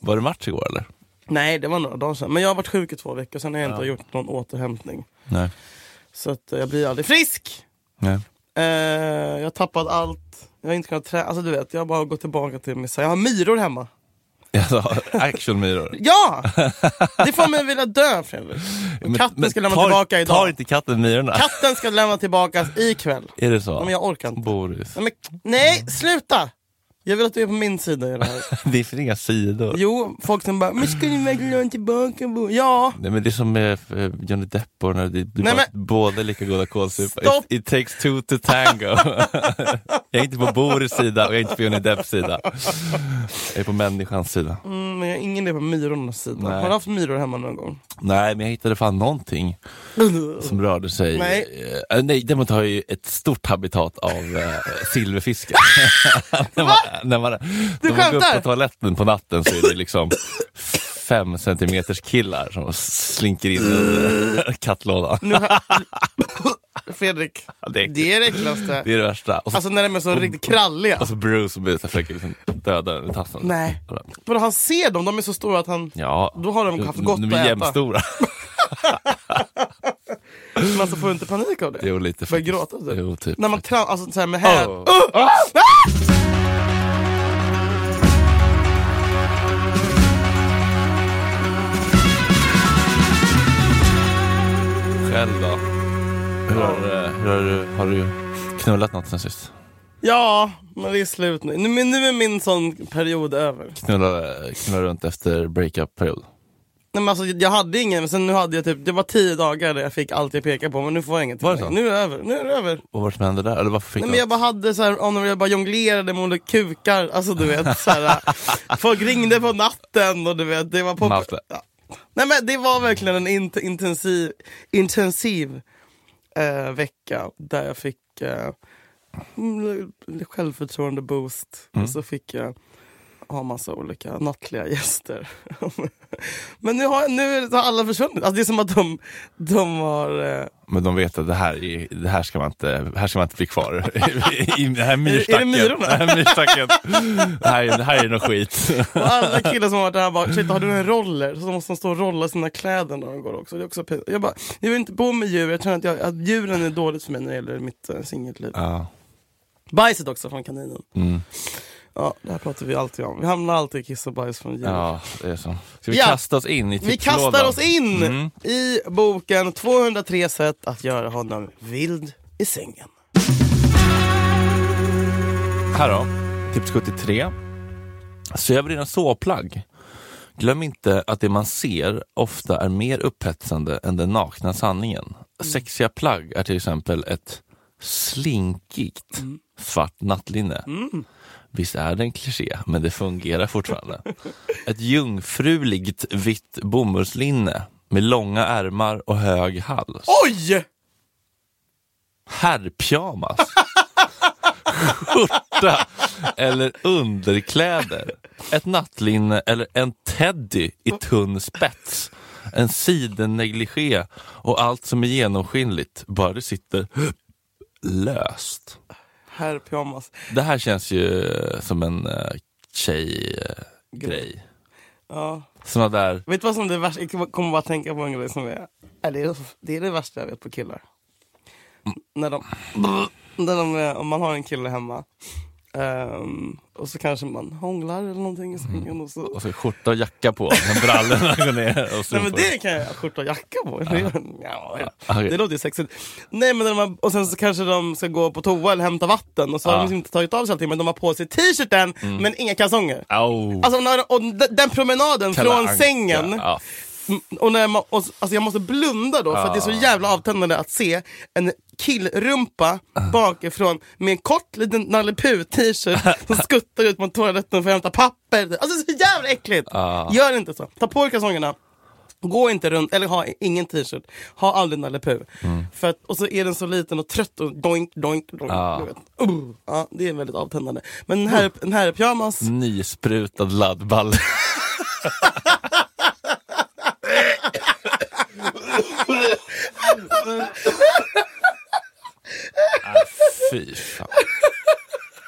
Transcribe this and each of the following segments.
Var det match igår eller? Nej, det var några dagar sedan. Men jag har varit sjuk i två veckor, sen har jag inte Ja. gjort någon återhämtning. Nej. Så att eh, jag blir aldrig frisk. Nej. Eh, jag har tappat allt. Jag har inte kunnat träna. Alltså du vet, jag har bara gått tillbaka till missa. Jag har myror hemma. Alltså, actionmyror. Ja! Det får mig vilja dö Fredrik. Men- katten men ska lämna tar- tillbaka idag. Tar inte katten myrorna? Katten ska lämna tillbakas ikväll. Är det så? Men jag orkar inte. Boris. Nej, men, nej sluta! Jag vill att du är på min sida i det här. Det finns inga sidor. Jo, folk som bara “men ska ni verkligen lämna tillbaka bo-?" Ja! Nej, men det är som med eh, Johnny Depp och när det blir Nej, bara båda lika goda kålsupare. Stopp! It, it takes two to tango. jag är inte på Boris sida och jag är inte på Johnny Depps sida. Jag är på människans sida. Mm, men jag är ingen är på myrornas sida. Nej. Har du haft myror hemma någon gång? Nej, men jag hittade fan någonting som rörde sig. Nej. Eh, nej däremot har jag ju ett stort habitat av eh, silverfiskar. när man, när man, när man går upp skämtar? på toaletten på natten så är det liksom fem centimeters killar som slinker in i kattlådan. Nu har... Fredrik, Det är äckligt. det är det äckligaste. Det är Mm. det värsta. Och så, Alltså när de är så riktigt kralliga. och så Bruce och Bruce försöker liksom döda den i tassen. Nej. Vadå, han ser dem, de är så stora att han... Ja. Då har de haft gott de, att de är äta. jämnstora. Men alltså får du inte panik av det? Jo, lite Börjar faktiskt. gråta typ? Jo, typ. När man tramp, alltså såhär med häl... Åh. Uh! Ah! Själv då? Hur har, eh, hur har, du- har du knullat något sen sist? Ja, men det är slut nu. Nu, men nu är min sån period över. Knulla, knulla runt efter breakup-period? Nej, men alltså, jag hade ingen, men sen nu hade jag typ, det var tio dagar där jag fick allt jag pekade på, men nu får jag inget. Var det så? Nu är det över. Nu är det över. Och vad som hände där? Eller varför fick Nej, du men jag bara hade så här, honom, jag bara jonglerade med olika kukar, alltså du vet. Så här, folk ringde på natten och du vet, det var på... Malte. Ja. Nej men det var verkligen en int- intensiv, intensiv eh, vecka där jag fick eh, mm, självförtroende boost och så fick jag ha massa olika nattliga gäster. men nu har, nu har alla försvunnit. Alltså det är som att de, de har eh, Men de vet att det här, är, det här, ska, man inte, här ska man inte bli kvar. I, i det här myrstacken. myrorna? Det här myrstacken. Det här, är- det här är nog skit. Och alla killar som har varit där bara, shit har du en roller? Så måste de stå och rolla sina kläder när de går också. Det är också pinsamt. jag bara, jag vill inte bo med djur. Jag känner att, jag, att djuren är dåligt för mig när det gäller mitt äh, singelliv. Ja. Bajset också från kaninen. Mm. Ja, det här pratar vi alltid om. Vi hamnar alltid i kiss och bajs från djur. ja, det är så. Ska vi Ja. kasta oss in i Vi tipslådan? kastar oss in Mm. i boken 203 sätt att göra honom vild i sängen. Här då, tips 73. Se över dina såplagg. Glöm inte att det man ser ofta är mer upphetsande än den nakna sanningen. Mm. Sexiga plagg är till exempel ett slinkigt Mm. svart nattlinne. Visst är det en kliché, men det fungerar fortfarande. ett jungfruligt vitt bomullslinne med långa ärmar och hög hals. Oj! herrpyjamas, skjorta eller underkläder, ett nattlinne eller en teddy i tunn spets, en sidennegligé och allt som är genomskinligt, bara det sitter löst. Herr pyjamas. Det här känns ju som en eh, tjejgrej. Ja. Såna där, Vet du vad som det är värsta? Jag kommer bara tänka på en grej som är... är det, det är det värsta jag vet på killar. När de... När de är, om man har en kille hemma ehm, och så kanske man hånglar eller någonting i sängen och så... och så skjorta och jacka på, men brallorna går ner och Nej men strumpor. det kan jag skjorta och jacka på. Ja. Ah, Okej. Det låter ju sexigt. Nej men när man, och sen så kanske de ska gå på toa eller hämta vatten och så har Ja. de liksom inte tagit av sig allting men de har på sig t-shirten Mm. men inga kalsonger. Au. Alltså när, och d- den promenaden Kalle från Anka. sängen Ja, Mm, Och när man, och, s- alltså jag måste blunda då för att det är så jävla avtändande att se en killrumpa bakifrån med en kort liten Nalle Puh t-shirt som skuttar ut mot toaletten för att hämta papper. Alltså det är så jävla äckligt! Gör inte så. Ta på er kalsongerna. Gå inte runt, eller ha ingen t-shirt. Ha aldrig Nalle Puh. För att, och så är den så liten och trött och doink, doink, doink. Ja. du vet. Uh, ja, det är väldigt avtändande. Men den här, den här pyjamas, Nysprutad Äh, laddballe. ah, fy fan.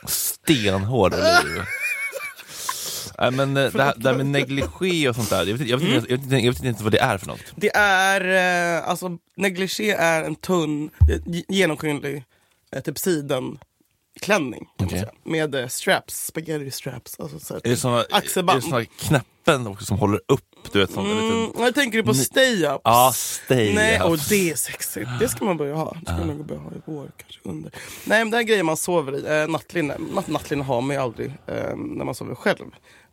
Stenhård oliv. Nej, men eh, det här, det här med negligé och sånt där, jag vet, jag, vet, inte- jag, vet, inte- jag vet inte vad det är för något. Det är, eh, alltså negligé är en tunn, eh, ge- genomskinlig, eh, typ sidenklänning. kan man Okej. säga. Med eh, straps, spaghetti straps. Alltså, så här, Är det såna, är det axelband. såna knäppen också som håller upp? Du vet, sån, en Mm, liten, jag tänker du på Ni- stay-ups? Ja, stay Nej, ups. och det är sexigt. Det ska man börja ha. Det Ah. ska man nog börja ha i vår, kanske under. Nej, men det här är grejer man sover i. Eh, nattlinne. Natt, nattlinne har man ju aldrig eh, när man sover själv.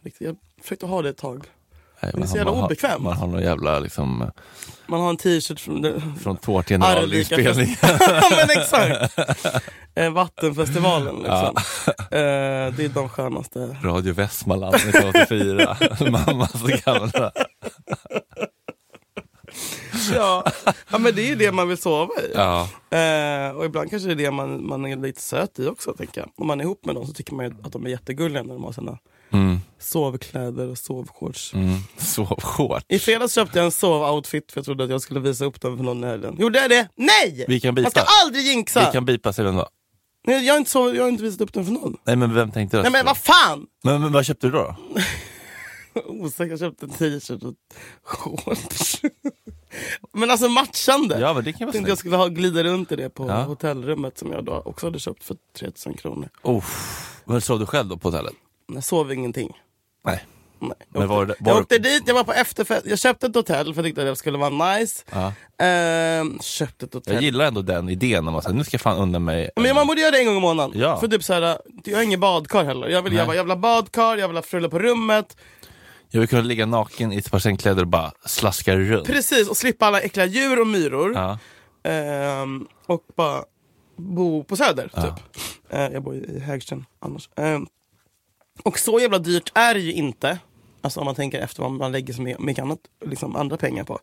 Riktigt. Jag försökte ha det ett tag. Nej, det är så man- jävla man har- obekvämt. Man har någon jävla liksom, eh, Man har en t-shirt från, från tårtgen av Arvika inspelning. Ja, men exakt. Eh, Vattenfestivalen liksom. Eh, det är de skönaste. Radio Västmanland 1984, mammas gamla. Ja. ja men det är ju det man vill sova i. Ja. Eh, och ibland kanske det är det man, man är lite söt i också tänker jag. Om man är ihop med dem så tycker man ju att de är jättegulliga när de har sina Mm, sovkläder och sovshorts. mm. Sovshorts. I fredags köpte jag en sovoutfit för jag trodde att jag skulle visa upp den för någon i helgen. Gjorde jag det? Nej! Vi kan Man ska bipa. aldrig Vi jinxa! kan bipa sig då. Nej, jag, har inte sov, jag har inte visat upp den för någon. Nej men vem tänkte du? att Nej men det vad fan! var? men, men vad köpte du då? Osäker, jag köpte en t-shirt och shorts. Men alltså matchande. Ja men det kan vara jag tänkte jag snyggt. skulle ha, glida runt i det på Ja. hotellrummet som jag då också hade köpt för 3000 kronor. Oh. Men sov du själv då på hotellet? Jag sov ingenting. Nej. Nej. Jag, Men var åkte, det- var jag det- åkte dit, jag var på efterfest. Jag köpte ett hotell för jag tyckte att det skulle vara nice. Ja. Ehm, köpte ett hotell. Jag gillar ändå den idén när man säger nu ska jag fan undan mig. Men man borde göra det en gång i månaden. Ja. För typ såhär, jag har ingen badkar heller. Jag vill, jag vill, jag vill ha badkar, jag vill ha frulle på rummet. Jag vill kunna ligga naken i ett par sängkläder och bara slaska runt. Precis, och slippa alla äckliga djur och myror. Ja. Ehm, och bara bo på Söder. Typ. Eh, jag bor ju i Hägersten annars. Ehm, och så jävla dyrt är det ju inte. Alltså om man tänker efter vad man lägger så my- mycket annat, liksom andra pengar på.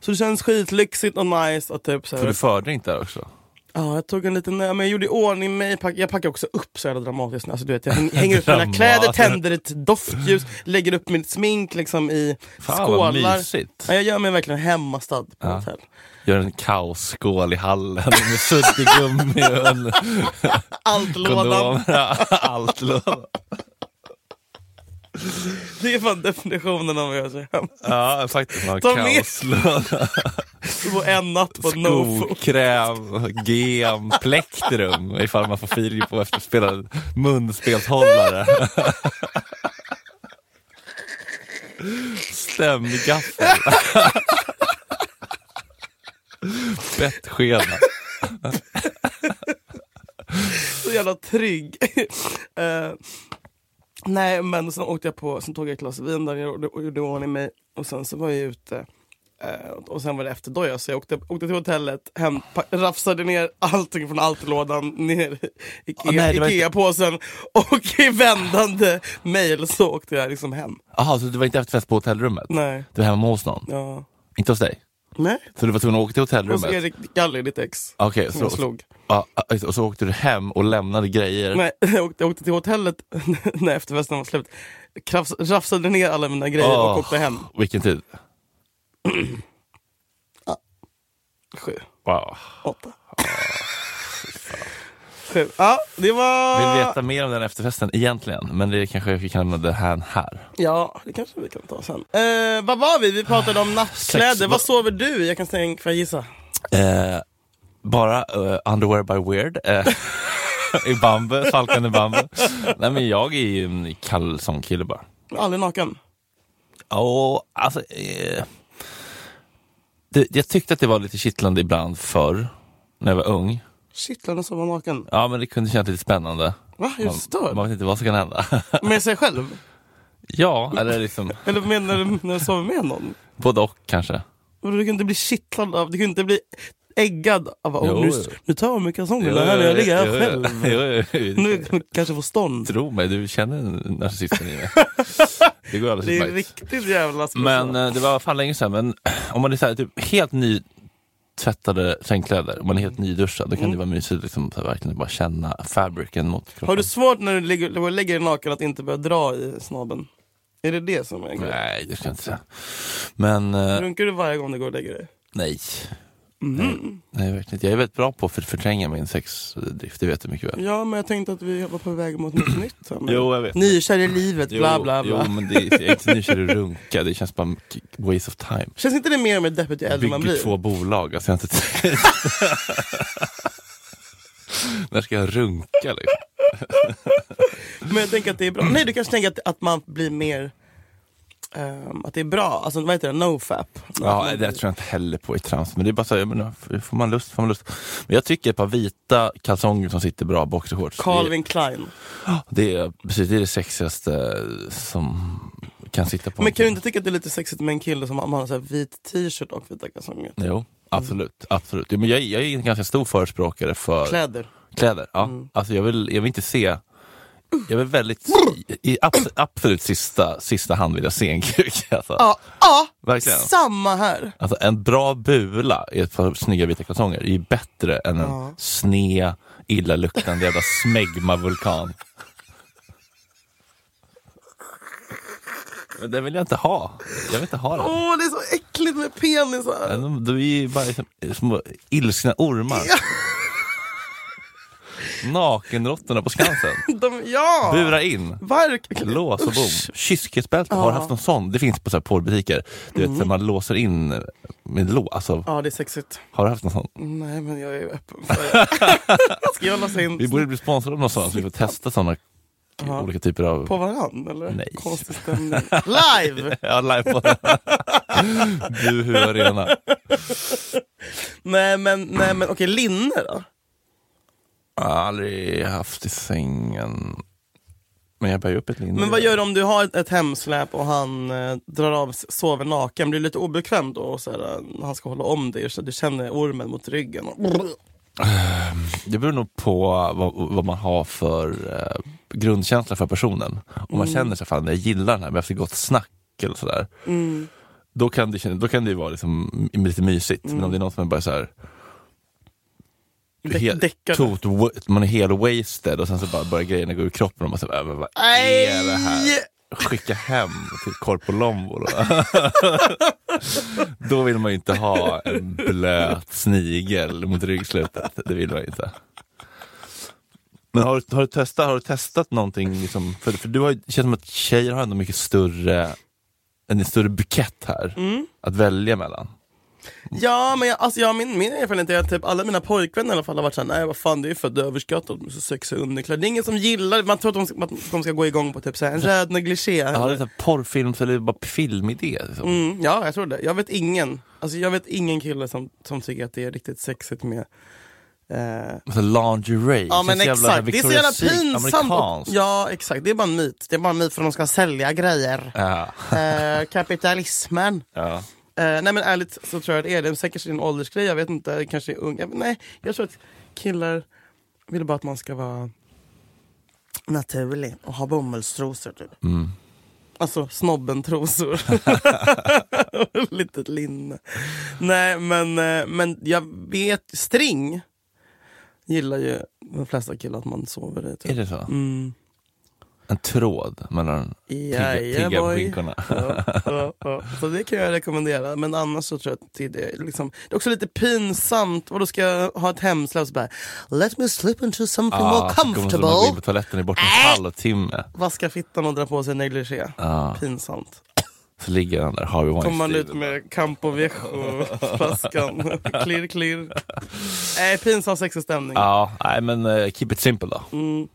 Så det känns skitlyxigt och nice. Att typ så Mm. För du här, fördrink där också? ja, jag tog en liten, men jag gjorde i ordning mig. Pack, jag packade också upp så jävla dramatiskt. Alltså, du vet, jag häng, hänger upp mina Dramatiskt. kläder, tänder ett doftljus, lägger upp mitt smink liksom i Fan vad skålar. mysigt. Ja, jag gör mig verkligen hemmastad på Ja. hotell. Gör en kaosskål i hallen med suddig gummi och en Allt lådan. kondom. Allt lådan. Det är fan definitionen av att göra sig hem. Ja faktiskt. Man Ta med- kaoslåda, Bo en natt på Nofo. skokräm, gem, plektrum ifall man får feeling på efter att spela munspelshållare. Stämgaffel. Bettskena. Så jävla trygg. Eh, nej men sen åkte jag på, sen tog jag ett glas vin där jag gjorde- och gjorde i ordning mig. Och sen så var jag ute. eh, och sen var det efterdoja så jag åkte, åkte till hotellet, hem, pa- rafsade ner allting från altlådan ner i Ikea- Ah, nej, det var inte- Ikea-påsen. Och i vändande mail så åkte jag liksom hem. Jaha, så du var inte efterfest på hotellrummet? Nej. Du var hemma hos någon? Ja. Inte hos dig? Nej. Så du var tvungen att åka till Och så hotellrummet? Erik Galli, ditt ex. Okej, Som jag så, slog. ja, ja, och så åkte du hem och lämnade grejer? Nej, jag åkte, jag åkte till hotellet när efterfesten var slut. Krafs, rafsade ner alla mina grejer Åh, och åkte hem. Vilken tid? Sju, Wow. åtta. Sju. Ja, det var... Vill veta mer om den efterfesten egentligen, men det kanske vi kan lämna det här, här. Ja, det kanske vi kan ta sen. Eh, vad var vi? Vi pratade om nattkläder. Sex. Vad sover du i? Jag kan säga, får jag gissa? Eh, bara eh, Underwear by Weird eh, i bambu, Falkande bambu. Nej men jag är ju en kalsongkille bara. Aldrig naken. Ja, alltså... Eh, det, jag tyckte att det var lite kittlande ibland förr, när jag var ung. Kittlande som var naken. Ja men det kunde kännas lite spännande. Va? Är du Man, störd? man vet inte vad som kan hända. Med sig själv? ja, eller liksom Eller med, när, du, när du sover med någon? både och kanske. Men Du kan inte bli kittlad av... Du kan inte bli äggad av... Jo, Oh, nu, jo. nu tar jag av mig kalsongerna här när jag ligger här Jo, själv. jo, jo, jo. Nu kanske jag får stånd. Tro mig, du känner narcissisten i mig. Det går alldeles Det är utmärkt. riktigt jävla skoj. Men eh, det var fan länge sedan, men om man är så här, typ, helt nytvättade sängkläder, om man är helt nyduschad, då kan det vara mysigt liksom, så här, verkligen bara känna fabricen mot kroppen. Mm. Har du svårt när du ligger, när du lägger dig naken att inte börja dra i snabben? Är det det som är grejen? Nej, Mm. det ska jag inte säga. Men eh, Runkar du varje gång du går och lägger dig? nej. Mm. Nej, nej, verkligen inte. Jag är väldigt bra på att för- förtränga min sexdrift, det vet du mycket väl. Ja, men jag tänkte att vi var på väg mot något nytt. här, men- Jo, jag vet. Nykär i livet, bla bla Jo, bla. jo men det är, jag är inte nykär i runka, det känns bara waste of time. Känns inte det mer och mer deppigt ju äldre man Bygger blir? två bolag, alltså jag har inte tid. När ska jag runka liksom? Men jag tänker att det är bra. Nej, du kanske tänker att, att man blir mer... ehm, att det är bra. Alltså, vad heter det? No-fap. Ja, det tror jag inte heller på i trams, men det är bara så här, jag menar, f- får man lust får man lust. Men jag tycker ett par vita kalsonger som sitter bra, boxershorts. Calvin Klein. Det, det, är, precis, det är det sexigaste som kan sitta på Men en kan du kille. inte tycka att det är lite sexigt med en kille som har en sån här vit t-shirt och vita kalsonger? Jo, absolut. absolut. Jo, men jag, jag är en ganska stor förespråkare för kläder. Kläder. ja. alltså jag, vill, jag vill inte se jag vill väldigt, i abs- absolut sista, sista hand vill jag se en kuk. Alltså. Ja, ja Verkligen. samma här. Alltså en bra bula i ett par snygga vita kalsonger är ju bättre än en Ja. sned, illaluktande jävla smegmavulkan. Men det vill jag inte ha. Jag vill inte ha det. Åh, det är så äckligt med penisar. Men De är ju bara liksom, små ilskna ormar. Nakenråttorna på Skansen. De, ja! Bura in. Verkligen. Lås och Usch. bom. Kyskhetsbälte, har Ja. Mm. haft någon sån? Det finns på så här porrbutiker. Du vet, där man låser in med lås. Alltså, Ja, det är sexigt. har du haft någon sån? Nej, men jag är öppen för det. Ska jag låsa Vi in borde bli sponsrade av någon sån så vi får testa såna Ja. olika typer av... på varandra eller? Nej. Konstig stämning. Live! Ja, live på Du, hur arena. Nej men, nej, men okej, linne då? Jag har aldrig haft i sängen. Men jag bär ju upp ett linne. Men vad gör du om du har ett, ett hemsläp och han eh, drar av, s- sover naken? Blir det lite obekvämt då? Och så här, eh, han ska hålla om dig och så du känner ormen mot ryggen. Och... Det beror nog på vad, vad man har för eh, grundkänsla för personen. Om Mm. man känner sig fan jag gillar den här, vi har haft ett gott snack eller sådär. Mm. Då, kan det, känna- då kan det ju vara liksom, m- lite mysigt. Mm. Men om det är någon som är bara såhär Dä- helt- däckar. tot- wa- man är helt wasted och sen så bara börjar grejerna gå ur kroppen och man säger, vad Nej! är det här? Skicka hem till Korpolombo då. då vill man ju inte ha en blöt snigel mot ryggslutet. Det vill man ju inte. Men har, du- har, du, testat, har du testat någonting? Liksom, för, för du har, ju- det känns som att tjejer har ändå mycket större, en större bukett här att välja mellan. Ja, men jag, alltså, jag, min, min erfarenhet är att typ alla mina pojkvänner i alla fall har varit såhär, nej vad fan det är ju för att överskattat med så sexiga underkläder. Det är ingen som gillar det, man tror att de, ska- att de ska gå igång på typ såhär, en röd negligé. Har du porrfilms eller bara filmidé? Liksom. Mm, ja, jag tror det. Jag vet ingen, alltså, jag vet ingen kille som, som tycker att det är riktigt sexigt med eh, Alltså lingerie. Ja men Känns jävla exakt, det är så jävla Victoria's Secret, pinsamt. Och, amerikanskt. ja exakt, det är bara en myt. Det är bara en myt för att de ska sälja grejer. Ja. Eh, kapitalismen. Ja. Eh, nej men ärligt så tror jag det är det. Säkert är det en åldersgrej, jag vet inte. Det Kanske är ung. Jag, nej, jag tror att killar vill bara att man ska vara naturlig och ha bomullstrosor typ. Mm. Alltså snobbentrosor. Litet linne. Nej men, eh, men jag vet, string gillar ju de flesta killar att man sover i. Är Typ. det så? Mm. En tråd mellan tigga- boy. tiggarbrynkorna. Ja, ja, ja. Så det kan jag rekommendera. Men annars så tror jag att det är, liksom, det är också lite pinsamt. Och då ska jag ha ett hemsläpp så bara Let me slip into something more Ah, så kommer- så Man går in på toaletten comfortable. Äh! i bort en halvtimme. Vaska fittan och dra på sig negligé. Ah. Pinsamt. Så ligger han där, Harvey Kommer man Weinstein. ut med Campo Viejo-flaskan. klirr, klirr. Nej, pinsam sexig stämning. Ja, nej men eh, keep it simple då. Mm.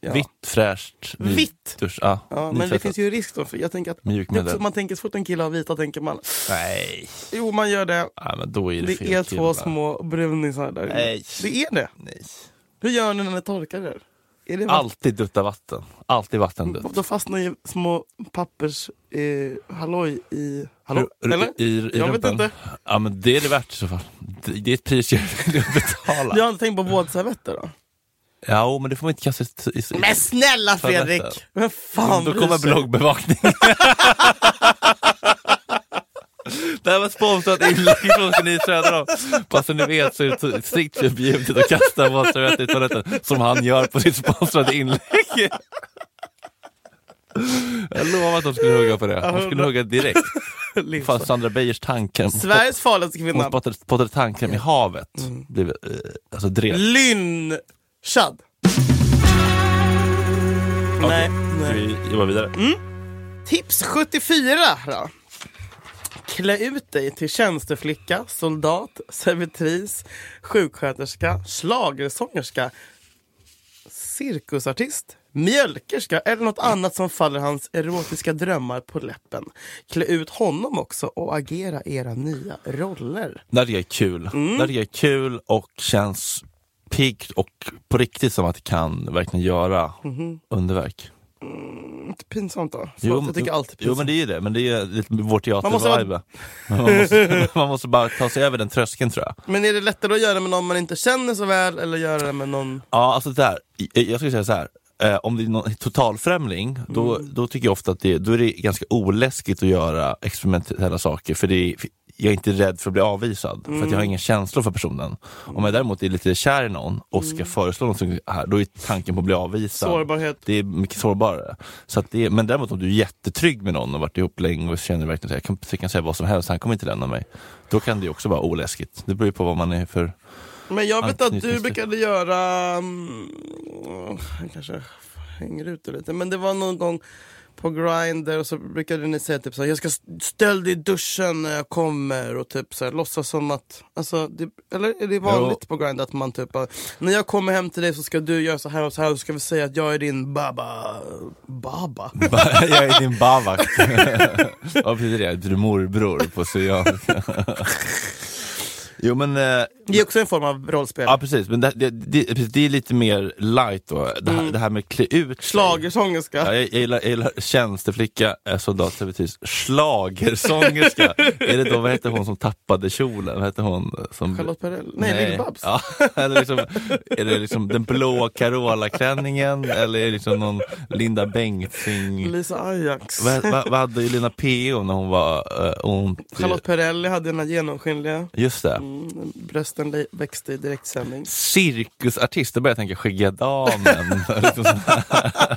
Ja. Vitt, fräscht. ny- Vitt? Dusch, ja, Ja, men det nytvättat. finns ju risk då. För jag tänker att det är Mjukmedel. också, man tänker så fort en kille har vita tänker man Nej. jo man gör det. nej, men då är det, Det fel är två kille. små brunisar där inne. Nej. Det är det. Nej. Hur gör ni när ni torkar er? Är det Alltid dutta vatten. Alltid vattendutt. Då fastnar ju små pappers eh, halloj i... Hallå? Ru- ru- Eller? I, i Jag vet rumpen. inte. Ja men det är det värt i så fall. Det, det är ett pris jag vill betala. Jag har inte tänkt på våtservetter då. Mm. Ja, men det får man inte kasta i... i Men snälla Fredrik! Fredrik! Vem fan Då bryr kommer sig? bloggbevakningen. Det här var sponsrat inlägg från Geni Söderholm. Bara så ni vet så är det strikt förbjudet att kasta våtservetter i toaletten som han gör på sitt sponsrade inlägg. Jag lovar att de skulle hugga på det. De skulle hugga direkt. Fan, Lindström. Sandra Beijers tanken. Sveriges farligaste Hon kvinna. spottade, spottade tanken i havet. Mm. Blev, eh, alltså drev. Lynchad. Nej, Ska nej. vi jobba vidare? Mm. Tips 74 då. Klä ut dig till tjänsteflicka, soldat, servitris, sjuksköterska, schlagersångerska, cirkusartist, mjölkerska eller något annat som faller hans erotiska drömmar på läppen. Klä ut honom också och agera era nya roller. När det är kul. Mm. När det är kul och känns piggt och på riktigt som att det kan verkligen göra Mm-hmm. underverk. Inte pinsamt då? Jo, jag tycker alltid jo, pinsamt. men det är ju det. Men det är ju lite vår Man måste vara- teatervibe. Man, måste- man måste bara ta sig över den tröskeln tror jag. Men är det lättare att göra med någon man inte känner så väl eller göra det med någon... Ja, alltså där. Jag jag skulle säga så här. Eh, om det är någon totalfrämling, då, då tycker jag ofta att det, då är det ganska oläskigt att göra experimentella saker. För det är, för jag är inte rädd för att bli avvisad, för att jag har inga känslor för personen. Om jag däremot är lite kär i någon och ska föreslå någonting här, då är tanken på att bli avvisad. Sårbarhet. Det är mycket sårbarare. Så att det är, men däremot om du är jättetrygg med någon och varit ihop länge och känner verkligen att jag kan, jag kan säga vad som helst, han kommer inte lämna mig. Då kan det också vara oläskigt. Det beror ju på vad man är för... Men jag vet att du Anknytningsvis. brukade göra... mm, åh, Jag kanske hänger ut det lite. Men det var någon gång på Grindr och så brukade ni säga typ så här, jag ska ställ dig i duschen när jag kommer och typ så här, låtsas som att... Alltså, det, eller är det vanligt på Grindr att man typ bara, när jag kommer hem till dig så ska du göra så här och så här och så ska vi säga att jag är din baba... Baba? Mm. jag är din babak. Vad betyder det? Du är morbror på syrianska. jo men, eh, Det är också en form av rollspel. ja precis, men det, det, det, precis, det är lite mer light då. Det Mm. här, det här med klä ut sig. Schlagersångerska. Ja, jag, jag, gillar, jag gillar tjänsteflicka, eh, soldat, servitris, schlagersångerska. är det då, vad hette hon som tappade kjolen? Vad hette hon? eh, Som... Charlotte Perrell? Nej, Lill-Babs. Ja, eller liksom, är det liksom den blåa Carola-klänningen eller är det liksom någon Linda Bengtzing? Lisa Ajax. Vad vad- vad hade Elina PO när hon var eh, ont? i- Charlotte Perrelli hade den här genomskinliga. Just det. Mm, brösten le- växte i direktsändning. Cirkusartist, då började jag tänka Skäggadamen. Liksom sån här-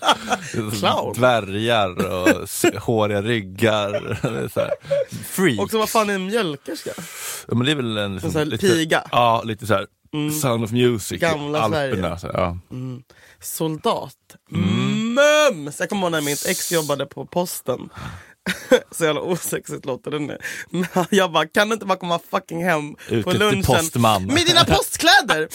Clown. Dvärgar och s- håriga ryggar. Eller så här. Freak. Och så vad fan är en mjölkerska? Ja, men det är väl en liksom, så här piga. Mm. Ja, lite så här. Sound of music. i Gamla Mm. Alperna, så, här, ja. Soldat. Mums! Jag kommer ihåg när mitt ex jobbade på posten. så jävla osexigt låter det nu. Men jag bara, kan du inte bara komma fucking hem Ut på till lunchen postman. med dina postkläder?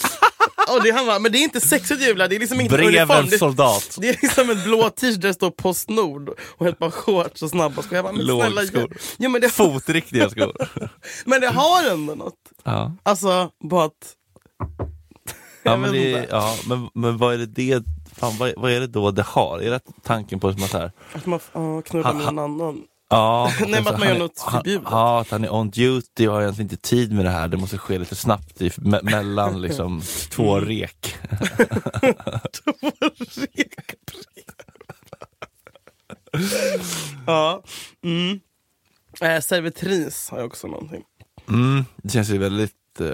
Och det, han bara, men det är inte sexigt Julia, det är liksom inte uniform. Brevens Det, soldat. det är liksom en blå t-shirt där det står Postnord och ett par shorts och snabba skor. Jag bara, men snälla, Lågskor. ja, men, det, Fotriktiga skor. men det har ändå något. Ja. Alltså, bara att Ja, Jag men, vet det, inte. ja, men, men vad är det det fan, vad, vad är det då det har? Är det tanken på som att så här, Att man uh, knullar med någon annan. ja, Nej, men att alltså, man han gör är- något han- förbjudet. Ja, att han är on duty och har egentligen inte tid med det här. Det måste ske lite snabbt i, me, mellan liksom, Mm. två rek. ja. Mm. Eh, servitris har jag också någonting. Mm, det känns ju väldigt eh,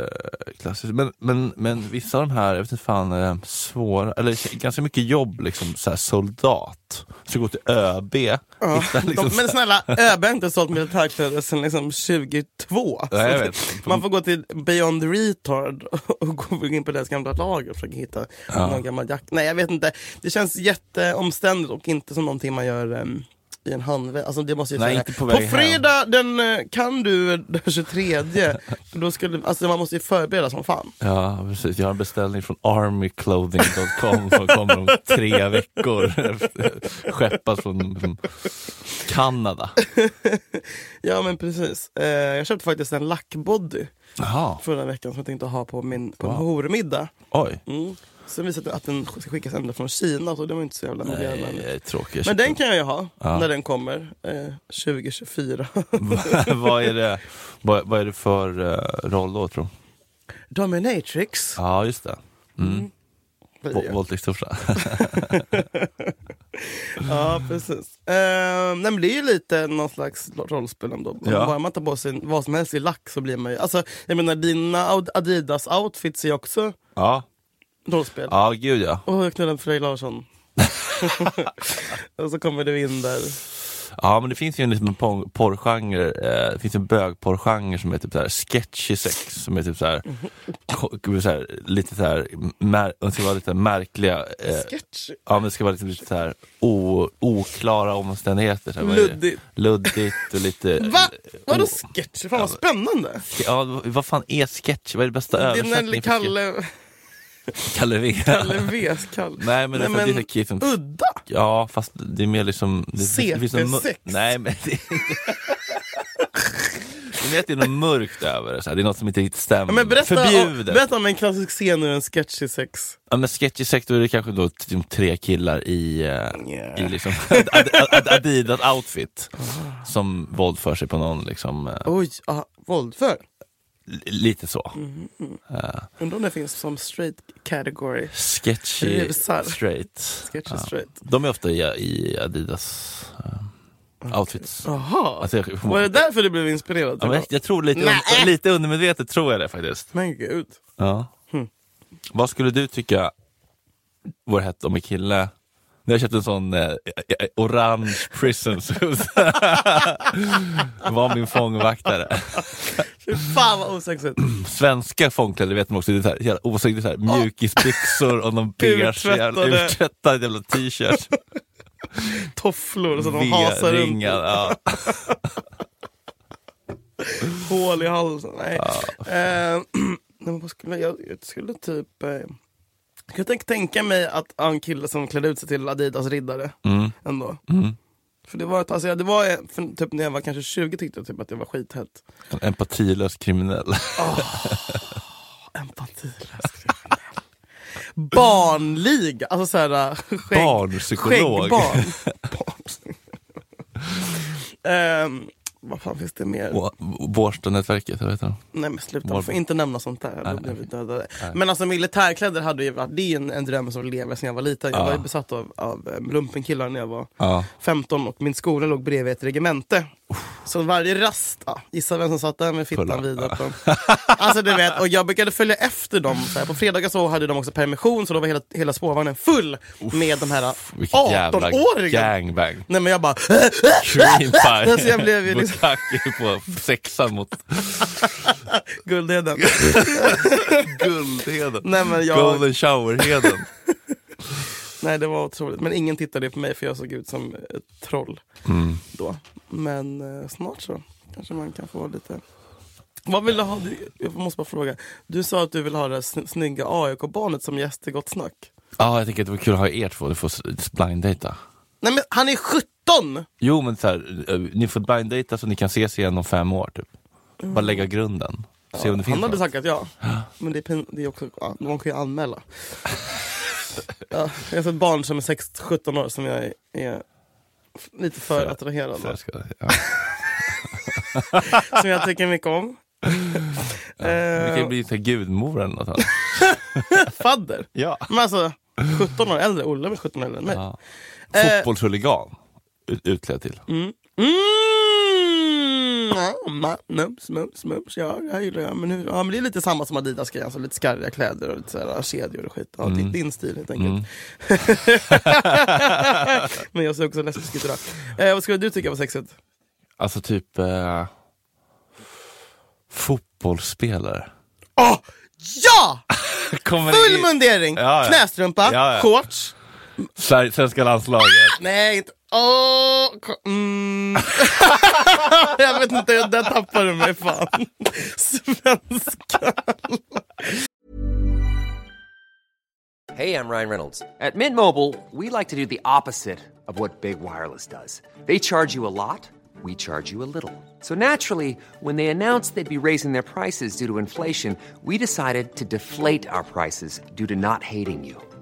klassiskt. Men, men, men vissa av de här, jag vet inte fan, eh, svåra, eller ganska mycket jobb liksom, så här, soldat. Så gå till ÖB. Ja. hitta, liksom, De, men snälla, ÖB har inte sålt militärkläder sedan liksom 22. Nej, jag Så vet. det- Man får gå till Beyond Retard och gå in på deras gamla lager och försöka hitta någon gammal jacka. Nej, jag vet inte. Det känns jätteomständigt och inte som någonting man gör em, i en handväska. Alltså, det måste ju Nej, säga. inte på väg hem. fredag den eh, kan du den 23. Då skulle, alltså, man måste ju förbereda som fan. Ja, precis. Jag har en beställning från armyclothing.com som kommer om tre veckor. Skeppas från, från Kanada. Ja men precis. Eh, jag köpte faktiskt en lackbody Jaha, förra veckan som jag tänkte ha på min på Wow. en hormiddag. oj. Mm. Sen visade det att den ska skickas ända från Kina så det var inte så jävla miljövänligt. Nej, tråkigt. Men den kan jag ju ha när den kommer eh, 2024. vad, är det, vad, vad är det för eh, roll då, tror du? Dominatrix. Ja, just det. Mm. blir Vå- det. Våldtäktstofsa. Ja, precis. Eh, nej, men det är ju lite någon slags rollspel ändå. Ja. Bara man tar på sig vad som helst i lack så blir man ju... Alltså, jag menar dina Ad- Adidas-outfits är ju också ja. rollspel. ja, gud ja. Och jag knullade med Frej Larsson. och så kommer du in där. Ja, men det finns ju en liten por- porrgenre, eh, det finns en bögporrgenre som är typ såhär sketchy sex, som är typ såhär, ko- såhär lite såhär, mär- de ska vara lite märkliga, eh, Sketch. ja men det ska vara liksom lite, lite såhär o- oklara omständigheter. Såhär, vad är det? Luddigt. Luddigt och lite... eh, Va? Vadå o- sketch? Fan eh, vad spännande. Ja, vad fan är sketch? Vad är det bästa Det är när översättningen? för sketch? Kalle Kalle, V. Kalle Vs kall. Nej men, det är för att det är så Keith and udda. Ja, fast det är mer liksom... Det, det finns någon mör- CP6. Nej, men det är Det är att det är något mörkt över det. så här. Det är något som inte riktigt stämmer. Ja, men berätta, om, Förbjudet. berätta om en klassisk scen ur en sketch i sex. Ja, men sketchy sex, då är det kanske då t- tre killar i, eh, Yeah. i liksom ad, ad, ad, Adidas-outfit som våldför sig på någon. Liksom, eh, Oj, aha, våldför. li- lite så. Mm. Eh, Undrar om det finns som straight category. Sketchy Rusar. straight. Sketch is straight. De är ofta i, i Adidas-outfits. Jaha, Alltså, jag- var det därför du blev inspirerad? Ja, men jag, jag tror lite, Nej. un- lite undermedvetet tror jag det faktiskt. Hmm. Men gud. Ja. Vad skulle du tycka vore hett om en kille när jag köpte en sån eh, eh, orange prison suit. Var min fångvaktare. Fy fan vad osexigt. Svenska fångkläder vet man också, det är så här, jävla osynligt, så här, mjukisbyxor och någon beige jävla Urtvättade. urtvättad jävla t-shirt. Tofflor som de hasar runt. V-ringar. Ja. Hål i halsen. Nej. Eh, men vad skulle jag, jag skulle typ... Eh, jag kan tänk, tänka mig att ha en kille som klädde ut sig till Adidas riddare. Mm. Ändå. Mm. För det var, ett- alltså, det var eh, för, typ när jag var kanske 20 tyckte jag typ att det var skithett. Ah, En empatilös kriminell. Empatilös kriminell. Barnliga, alltså såhär skägg, Barnpsykolog. skäggbarn. Barnpsykolog. Ehm, vad fan finns det mer? Bå- Bårstanätverket, vad heter de? Nej men sluta, Var- man får inte nämna sånt där. Nej, Då blir vi dödade. Nej. Men alltså militärkläder hade ju varit, det är ju en, en dröm som lever sedan jag var liten. Jag Ja. var ju besatt av, av eh, lumpenkillar när jag var Ja. 15 och min skola låg bredvid ett regemente. Så varje rast, ja, gissa vem som satt där med Kolla. fittan vidare på. Alltså du vet, och jag brukade följa efter dem. Så här, på fredagar så hade de också permission så då var hela, hela spårvagnen full med de här Vilket jävla 18-åringarna. gangbang. Nej men jag bara, Cream pie. Alltså, jag blev ju liksom- Bukkake på sexan mot guldheden. guldheden. Nej men jag, Golden shower-heden. nej det var otroligt. Men ingen tittade på mig för jag såg ut som ett troll Mm. då. Men eh, snart så kanske man kan få lite... Vad vill du ha? Du- Jag måste bara fråga. Du sa att du vill ha det sn- snygga AIK-barnet som gäst i Gott Snack. Ja, jag tänker att det vore kul att ha er två, ni får s- blinddejta. Nej men han är 17! Jo men så här, eh, ni får blinddejta så ni kan ses igen om fem år typ. Bara lägga grunden. Se om det finns Mm. han hade något. tackat ja. Men det är, pin- det är också, ja, man kan ju anmäla. ja, jag har sett barn som är 16-17 år som jag är, är f- lite för För- attraherad Så av. jag ska- ja. Som jag tycker mycket om. Det kan ju eh, bli så här gudmor eller något annat. fadder. Ja. Men alltså 17 år äldre, Olle var 17 år äldre än mig. ja. Eh. Fotbollshuligan ut- utklädd till. Mm. Mm. Ja, ma- Mums, mums, mums. Ja, det här gillar jag. Men, hur, ja, men det är lite samma som Adidas grejer. Alltså, lite skarriga kläder och lite sådär, kedjor och skit. Ja, det är Mm. Din stil helt enkelt. Mm. men jag ser också lesbisk ut idag. Eh, vad skulle du tycka var sexigt? Alltså typ eh, fotbollsspelare. Åh! ja! Kommer Full i- mundering! Ja, ja. Knästrumpa, Ja, ja. shorts. Sver- Svenska landslaget. Nej, inte... Åh! ko- Mm. jag vet inte, där tappar du mig fan. Svenska. Hey, I'm Ryan Reynolds. At Mint Mobile, we like to do the opposite of what Big Wireless does. They charge you a lot, we charge you a little. So naturally, when they announced they'd be raising their prices due to inflation, we decided to deflate our prices due to not hating you.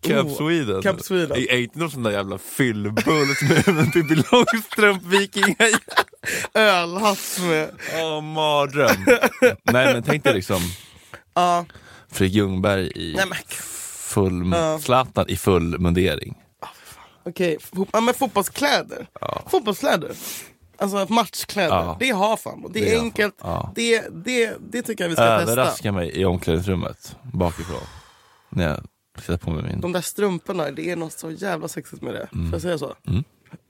Camp Oh, Sweden. Camp Sweden. Det är inte någon sån där jävla fyllbull som en Pippi Långstrump-vikinga. Ölhatt med... Åh, mardröm. Nej, men tänk dig liksom Ja. Fredrik Ljungberg i Nej men full, Zlatan i full mundering. Okej, fo- ja, men fotbollskläder. Fotbollskläder. Alltså matchkläder. Ja. Det har Famo. Det är Det har enkelt. Ja. Det, det, det tycker jag vi ska testa. Överraska mig i omklädningsrummet bakifrån. När jag sätter på mig min. De där strumporna, det är något så jävla sexigt med det. Mm. Får jag säga så?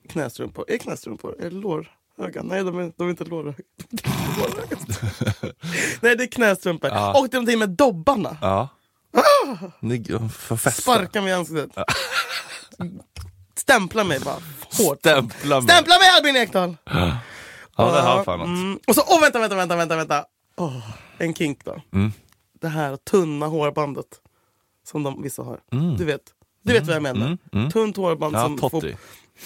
Knästrumpor. Är det knästrumpor? Är det lårhöga? Nej, de är, de är inte lårhöga. De är lårhöga. Nej, det är knästrumpor. Och det är någonting med dobbarna. Ja. Ah! Ni- För festa. Sparka mig i ansiktet. Stämpla mig bara. Hårt. Stämpla mig. Stämpla mig Albin Ekdal! Ja, det har fan alltså. något. Mm. Och så, åh vänta, vänta, vänta, vänta, vänta. Åh, en kink då. Mm. Det här tunna hårbandet som de, vissa har. Mm. Du vet, du vet vad jag menar. Tunt hårband Ja, som... Totti.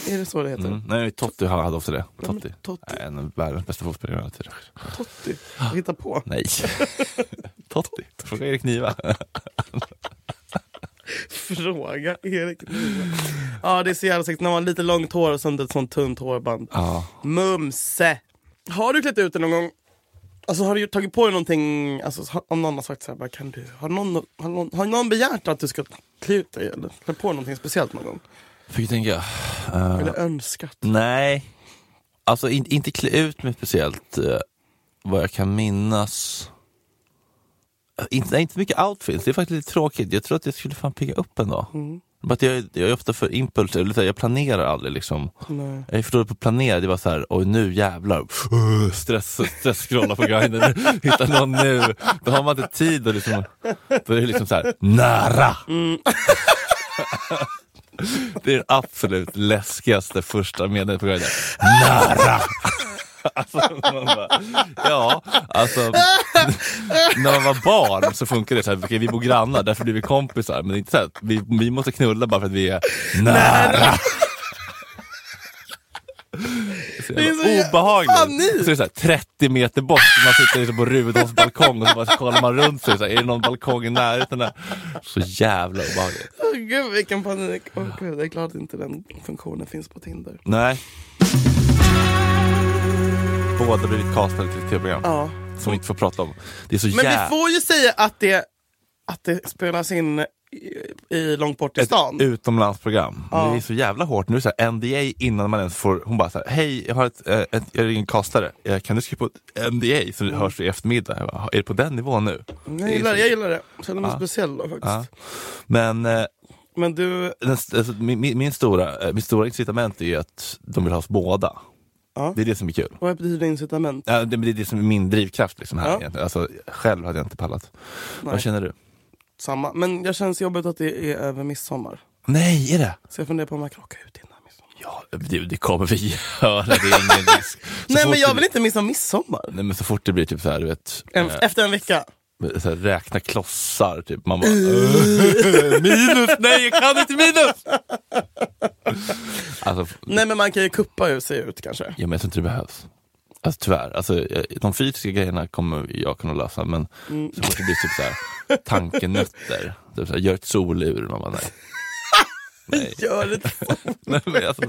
Är det så det heter? Mm. Nej, Totti har hade ofta det. men Totti. Totti. Nej, En av världens bästa fotbollsspelare alla tider. Totti. Jag hittar på. Nej. Totti. Fråga Erik Niva. Fråga Erik Niva. Ja, det är så jävla sexigt. När man har lite långt hår och sen ett sånt tunt hårband. Ja. Mumse! Har du klätt ut dig någon gång? Alltså har du gjort- tagit på dig någonting, alltså, har- om någon har sagt så här, bara, kan du, har, någon, har, någon, har någon begärt att du ska klä ut dig eller klä på någonting speciellt någon gång? Fick tänka. Eh. Eller önskat? Nej. Alltså in, inte klä ut mig speciellt eh, vad jag kan minnas. Eh, Inte, nej, inte mycket outfits, det är faktiskt lite tråkigt. Jag tror att jag skulle fan pigga upp en dag. Bara att jag, jag är ofta för impulsiv, eller så här, jag planerar aldrig liksom. Nej. Jag är för dålig på att planera, det var så här, oj nu jävlar. Uh, stress, stress scrolla på grinden, hitta någon nu. Då har man inte tid och liksom, då är det liksom så här, nära. Det är det absolut läskigaste första meningen på grinden. Nära! Alltså, man bara, ja, alltså när man var barn så funkar det så här, okej, vi bor grannar, därför blir vi kompisar. Men det är inte så här, att vi, vi måste knulla bara för att vi är nära. Så Det är jävla så jä- obehagligt. panik. Så är det så här, 30 meter bort, man sitter liksom på Rudolfs balkong och så bara kollar man runt sig. Så här, är det någon balkong i närheten? Där? Så jävla obehagligt. Åh gud vilken panik. Åh gud, jag är glad att inte den funktionen finns på Tinder. Nej. Båda blivit castade till tv-program Ja. som vi inte får prata om. Det är så Men jävla... vi får ju säga att det, att det spelas in i, i långt bort i stan. Ett utomlandsprogram. Det är så jävla hårt. Nu är det så här, NDA innan man ens får... Hon bara så här, hej, jag har ett, eh, ett, jag ringer en kastare. Eh, Kan du skriva på ett NDA så det Mm. hörs i eftermiddag? Jag bara, är det på den nivån nu? Jag gillar det, jag gillar det. Jag känner mig speciell då faktiskt. Ja. Men eh, Men du, den, alltså, min, min- min stora, eh, min stora incitament är ju att de vill ha oss båda. Ja. Det är det som är kul. vad betyder det incitament? Ja, det, men det är det som är min drivkraft liksom här Ja. egentligen. Alltså, själv hade jag inte pallat. Nej. Vad känner du? Samma. Men jag känns jobbigt att det är över midsommar. Nej, är det? Så jag funderar på om jag kan åka ut innan midsommar. Ja, det, det kommer vi göra. Det är ingen risk. Så Nej fort men jag det- vill inte missa midsommar. Nej Mm. men så fort det blir typ så här, du vet, En, Efter en vecka. så här, räkna klossar, typ. man Mm. bara "Åh, minus, nej jag kan inte minus! Alltså, Nej men man kan ju kuppa ur sig ut kanske. ja, men jag tror inte det behövs. Alltså tyvärr, alltså, eh, de fysiska grejerna kommer jag kunna lösa men Mm. så fort det blir typ så här, tankenötter, typ så här, gör ett solur, man bara nej. Nej. Gör det. nej men alltså,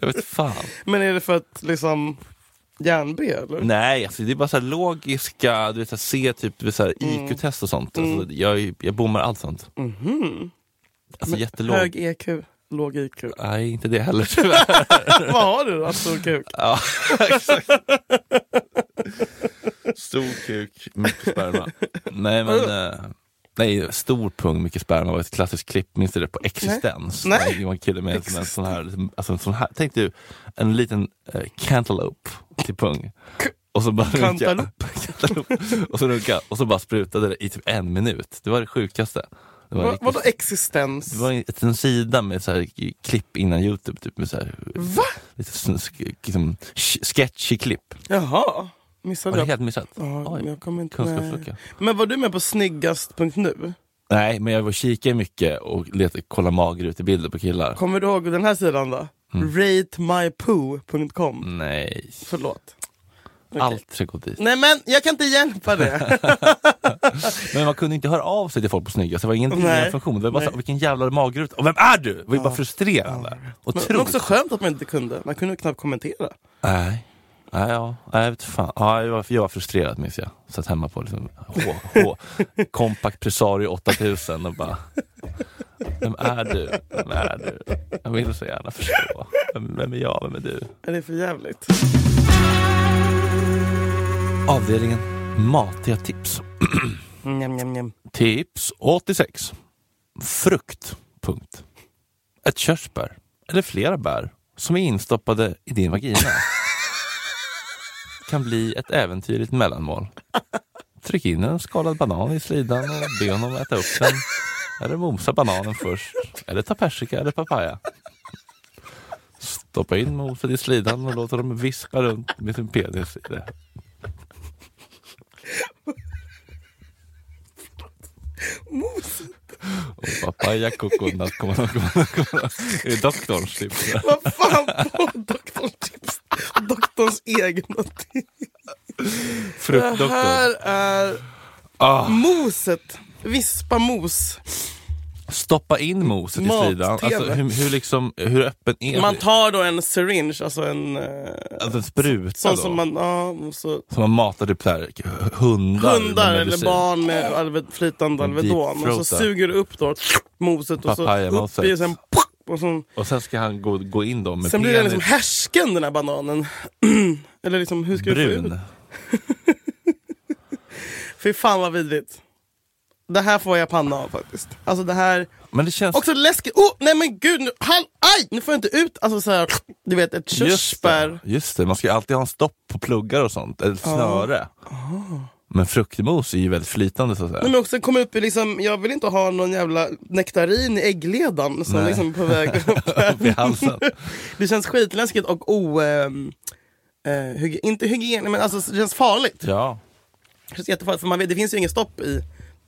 jag vet fan. Men är det för att liksom järn-B eller? Nej, alltså det är bara så här logiska, du vet, så här, se typ du vet, så här, IQ-test och sånt. Alltså, jag, jag bommar allt sånt. Alltså jättelåg. Hög EQ, låg IQ. Nej, inte det heller tyvärr. Vad har du då? alltså, Stor kuk? ja, exakt. Stor kuk, mycket sperma. Nej, men... eh, Nej, stor pung, mycket sperma var ett klassiskt klipp, minns du det? På Existens. Nej. Det var en kille med en sån här- sån här, liksom, alltså en sån här, tänk du, en liten eh, cantaloupe till pung. Och så bara runka. Cantaloupe. Cantaloupe. och så runka, och så bara sprutade det i typ en minut. Det var det sjukaste. Det var, Va, riktigt- vadå existens? det var en, en sida med så här klipp innan Youtube, typ med så här, Va? lite sån- sk- liksom, sh- sketchy klipp. Jaha, Har missade du jag. helt missat? Ja, men jag kommer inte... kunskapslucka. Nej. Men var du med på snyggast.nu? Nej, men jag var och kikade mycket och letade, kollade mager ut i bilder på killar. Kommer du ihåg den här sidan då? Mm. Ratemypoo.com Nej, Förlåt. Okej. Mm. allt ska gå dit. Nej men jag kan inte hjälpa det. Men man kunde inte höra av sig till folk på snygga, så det var ingen, Nej. ingen funktion. Det var bara så, Nej. vilken jävla magerut. Och vem är du? Det var ju bara frustrerande. Och Men tro. också skönt att man inte kunde. Man kunde knappt kommentera. Nej. Nej, ja. Nej, jag vet fan. Ja, jag, var, jag var frustrerad minns jag. Satt hemma på liksom, H, H, Compact Presario 8000 och bara... Vem är du? Vem är du? Jag vill så gärna förstå. Vem, vem är jag? Vem är du? Är det för jävligt? Avdelningen matiga tips. Mm, Njam, njam, njam. Tips 86. Frukt. Punkt. Ett körsbär, eller flera bär, som är instoppade i din vagina kan bli ett äventyrligt mellanmål. Tryck in en skalad banan i slidan och be honom äta upp den. Eller mosa bananen först. Eller ta persika eller papaya. Stoppa in moset i slidan och låt dem vispa runt med sin penis i det. Mos. Och papaya, coconut, coconut, coconut, coconut. Det är doktorns tips. Vad fan på doktorns tips? Doktorns egna tips. Det Fruktdoktorn. här är Ah. moset. Vispa mos. Stoppa in moset i Mat, slidan. Alltså, TV. hur, hur, liksom, hur öppen är Man det? tar då en syringe, alltså en eh, Alltså en spruta sån då? som man, ja, och så som man matar typ så här, hundar, med hundar eller medicin. barn med alve- flytande En Alvedon. Och så deepthroatar. suger du upp då moset och så Papayamoset. upp i och sen och sen, Och sen ska han gå, gå in då med sen blir den penis liksom härsken den här bananen. eller liksom, hur ska du få ut brun. Fy fan vad vidrigt. Det här får jag panna av faktiskt. Alltså det här, Men det känns... också läskigt. Oh, nej men gud, nu, hall, aj! Nu får jag inte ut, alltså så här, du vet ett just, det, körsbär. just det, man ska ju alltid ha en stopp på pluggar och sånt. Eller snöre. Men fruktmos är ju väldigt flytande så att säga. Nej, men också komma upp i liksom, jag vill inte ha någon jävla nektarin i äggledan som Nej. liksom är på väg upp här. Upp i halsen. Det känns skitläskigt och o... ehm, eh, hyg- inte hygien, men alltså det känns farligt. Ja. Det känns jättefarligt för man vet, det finns ju ingen stopp i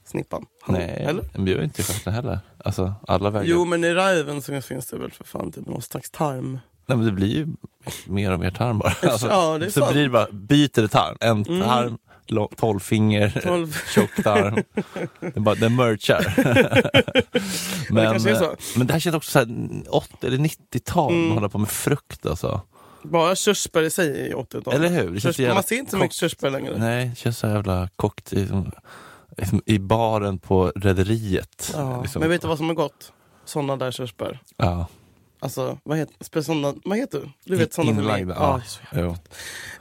snippan. Nej, Eller? men vi är ju inte i stjärten heller. Alltså alla vägar. Jo men i riven så finns det väl för fan typ någon slags tarm. Nej, men det blir ju mer och mer tarm bara. Alltså, Ja, det är så sant. Mm. blir det bara, byter det tarm. En tarm, lång, tolvfinger, Tolv- tjock tarm. Den, bara, den merchar. men, kanske är eh, så. Mm. men det här känns också så här 80 eller 90-tal, man håller på med frukt alltså. Bara körsbär i sig är ju 80-talet. Eller hur? Det känns Körsbär- jävla Man ser inte så mycket kokt. körsbär längre. Nej, det känns så jävla kokt i, som- liksom, i baren på Rederiet. Ja. liksom. Men vet du vad som är gott? Såna där körsbär. Ja. Alltså, vad heter, spe- såna, vad heter du? Du vet såna som är- Inlagda. Ja. Ja, så jävla-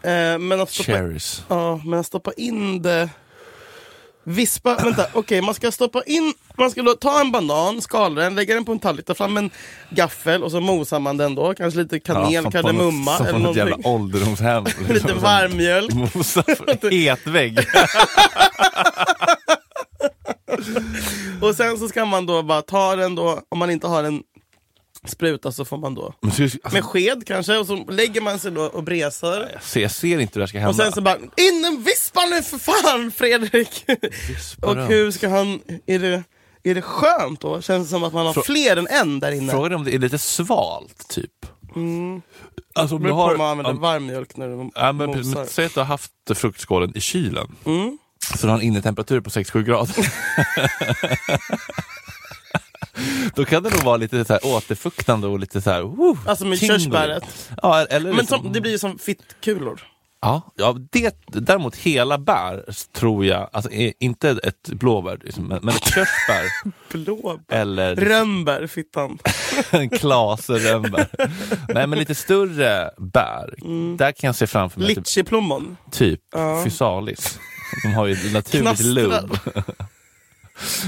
Jo. Eh, men att stoppa Cherries. Ja, men stoppa in det... Vispa, vänta, okej man ska stoppa in, man ska då ta en banan, skala den, lägga den på en tallrik, ta fram en gaffel och så mosar man den då, kanske lite kanel, som på något- kardemumma Som på eller något någonting. jävla ålderdomshem. liksom. Lite som- varmmjölk. Mosa för etvägg. Och sen så ska man då bara ta den då, om man inte har en spruta så får man då Men så- alltså, med sked kanske, och så lägger man sig då och bresar. så alltså, jag ser inte hur det här ska hända. Och sen så bara, in en vispa nu för fan Fredrik! Vispa och den. hur ska han, är det, är det skönt då? Känns det som att man har Frå- fler än en där inne? Frågan är om det är lite svalt, typ. Alltså om Det du Mm. beror på om man har... använder Om, varm mjölk när du ja, men, precis, mosar. Mm. men, säg att du har haft fruktskålen i kylen. Så du har en innetemperatur på 6-7 grader. Då kan det nog vara lite så här återfuktande och lite så här... woo, Alltså med tingling. körsbäret. Ja, eller men liksom, som, det blir ju som fittkulor. Ja, ja det, däremot hela bär tror jag, alltså i- inte ett blåbär, liksom, men, men ett körsbär Blåbär. eller Rönnbär, fittan. en klase rönnbär. Nej men lite större bär, där kan jag se framför mig typ, Litchiplommon. typ physalis. De har ju naturligt Knastrar. lubb.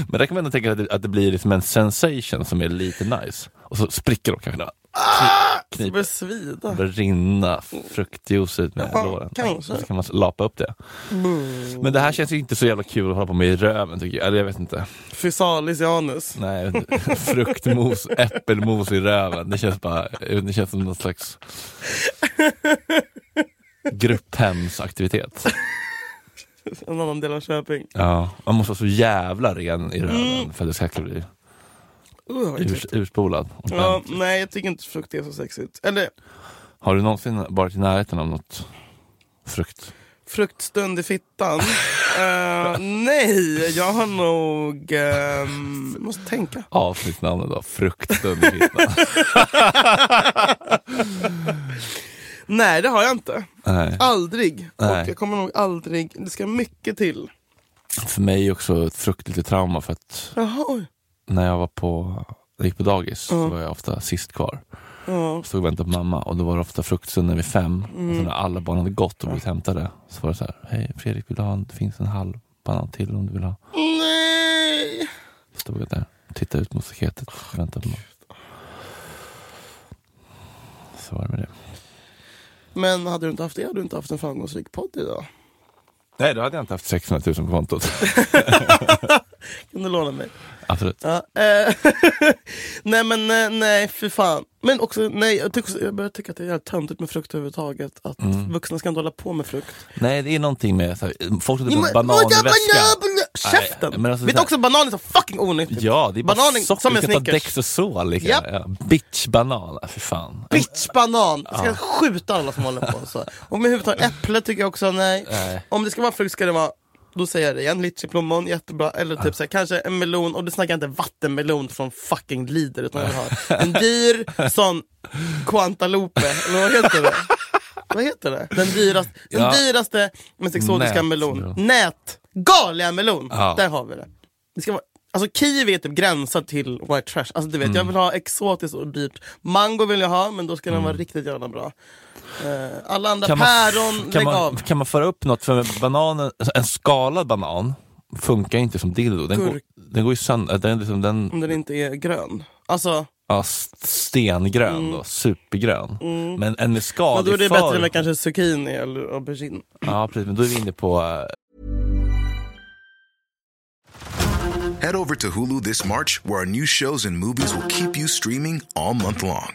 men där kan man ändå tänka att det, att det blir liksom en sensation som är lite nice. Och så spricker de kanske. då. Kni- Det kniper. börjar svida. börjar rinna fruktjuice ut med Ja, låren. kanske. Så kan man lapa upp det. Mm. Men det här känns ju inte så jävla kul att hålla på med i röven tycker jag. Eller jag vet inte. Fysalis i anus. Nej, jag vet inte. fruktmos, äppelmos i röven. Det känns bara, jag vet inte, det känns som någon slags grupphemsaktivitet. En annan del av Köping. Ja, man måste vara så jävla ren i röven Mm. för att det ska kunna bli Uh, vad urs, äckligt. urspolad. Och ja, den- nej, jag tycker inte frukt är så sexigt. Eller Har du någonsin varit i närheten av något frukt? fruktstund i fittan. Eh, nej, jag har nog... ehm, måste tänka. Avsnittsnamnet då, fruktstund i fittan. Nej, det har jag inte. Nej. Aldrig. Nej. Och jag kommer nog aldrig... Det ska mycket till. För mig också ett frukt lite trauma för att Jaha. när jag var på jag gick på dagis så var jag ofta sist kvar. Stod och väntade på mamma och då var det ofta fruktstunden vid fem. Och sen när alla barn hade gått och blivit hämtade så var det så här, hej Fredrik vill du ha en, det finns en halv banan till om du vill ha. Nej! Stod jag där, tittade ut mot staketet och väntade på mig. Så var det med det. Men hade du inte haft det hade du inte haft en framgångsrik podd idag. Nej, då hade jag inte haft 600 000 på kontot. Kan du låna mig? Absolut. Ja, eh, nej men nej, nej för fan. Men också nej, jag, tycker också, jag börjar tycka att det är jävligt töntigt med frukt överhuvudtaget. Att vuxna ska inte hålla på med frukt. Nej, det är någonting med så här, folk sätter Ja, på men- en banan i Ja, väskan. banan- Käften! Nej, men alltså Vet så du här- också banan är så fucking onyttigt. Ja, det är bara Banan är socker. som en Vi ska ta Snickers. Dextrosol. lika Japp. gärna. liksom. Ja. Bitch-banan. Ja, Fy fan. Bitchbanan! Jag ska skjuta alla som håller på. Så. Och med huvudtaget äpple tycker jag också nej. Nej. Om det ska vara frukt ska det vara då säger jag det igen, litchiplommon, jättebra. Eller typ så här, kanske en melon, och då snackar jag inte vattenmelon från fucking Lider utan jag vill ha en dyr sån Quantalope, eller vad heter det? Vad heter det? Den dyraste, Ja. den dyraste mest exotiska Nät- melon. Nätgaliga melon! Ja. Där har vi det. det ska vara, alltså kiwi är typ gränsat till white trash. Alltså du vet, Mm. jag vill ha exotiskt och dyrt. Mango vill jag ha, men då ska den vara riktigt jävla bra. Eh, alla andra päron, kan, lägg man, av. kan man föra upp något? För bananen, Alltså, en skalad banan funkar inte som dildo. Den, går, Gurk. Mm. den går ju sönder. Den, är liksom, den, Om den inte är grön. Alltså, ja, s- stengrön då, supergrön. Men en med skal men Mm. då är det för- bättre med kanske zucchini eller aubergine. Ja, precis. Men då är vi inne på eh, Head over to Hulu this March, where our new shows and movies will keep you streaming all month long.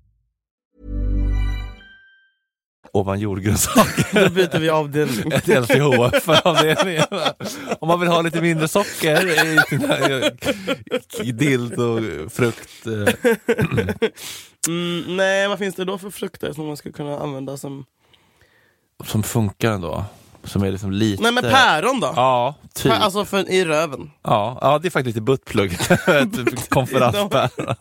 ovan jordgrönsaker. Då byter vi avdelning. Ett LCHF-avdelning. Om man vill ha lite mindre socker i sina eh, k- dildo, frukt. eh, Mm, nej, vad finns det då för frukter som man skulle kunna använda som... som funkar ändå. Som är liksom lite... Nej men päron då? Ja, typ. Pä- Alltså för, i röven. ja, ja, det är faktiskt lite buttplugg. Typ Konferenspäron.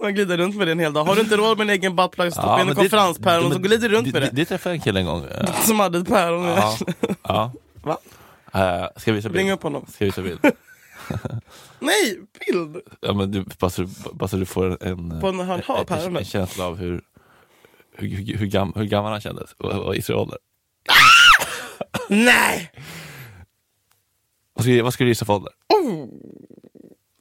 Man glider runt med det en hel dag. Har du inte råd med en egen buttplug, stoppa in men en det- konferenspäron och så men glider du runt med Det, det. det träffade jag en kille en gång. Eh, Som hade ett päron. Ja, ja. Va? Eh, ska jag visa bild? Ring upp honom. Ska jag visa bild? Nej, bild! Ja, men du, bara, så, du- bara så du får en, eh, På när han har en, en päronet. känsla av hur, hur, hur, hur, gam, hur gammal han kändes och, och i sin ålder. Nej! Vad skulle, vad skulle du gissa för ålder? Oh,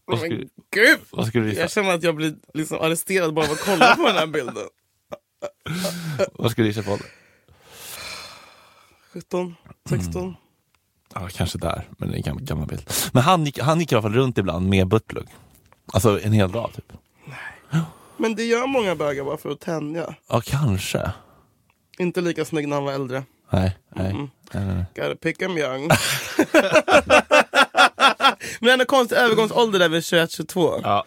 Vad skulle, men gud! vad skulle du Jag gissa, känner att jag blir liksom arresterad bara av att kolla på den här bilden. vad skulle du gissa för ålder? 17, 16. Ja, kanske där, men det är en gammal, gammal bild. Men han gick, han gick i alla fall runt ibland med buttplug. Alltså en hel dag typ. Men det gör många bögar bara för att tänja. Ja, kanske. Inte lika snygg när han var äldre. Nej, nej. nej, nej, nej. Gotta pick 'em young. Men ändå konstig övergångsålder där vid 21-22. Ja.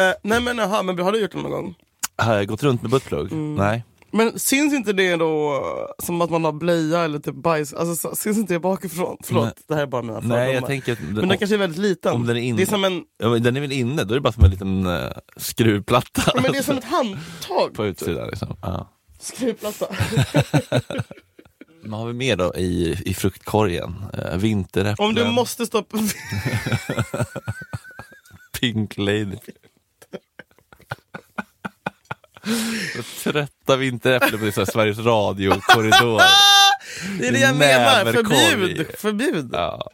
Eh, nej men jaha, men har du gjort det någon gång? Har jag gått runt med buttplug? Mm. Nej. Men syns inte det då som att man har blöja eller typ bajs? Alltså, så- syns inte det bakifrån? Förlåt, Nej. det här är bara mina fördomar. Nej, jag tänker att... Men den kanske är väldigt liten. om den är inne. det, är som en, Ja, men Den är väl inne, då är det bara som en liten eh, skruvplatta. men det är som ett handtag. På utsidan liksom. Ja. Skruvplatta. Vad har vi mer då i, i fruktkorgen? Uh, vinteräpplen, Om du måste stoppa... Pink Lady. Trötta vinteräpplen på så här Sveriges Radio-korridor. det är det jag menar. Näverkorg. Förbjud! Förbjud! Ja.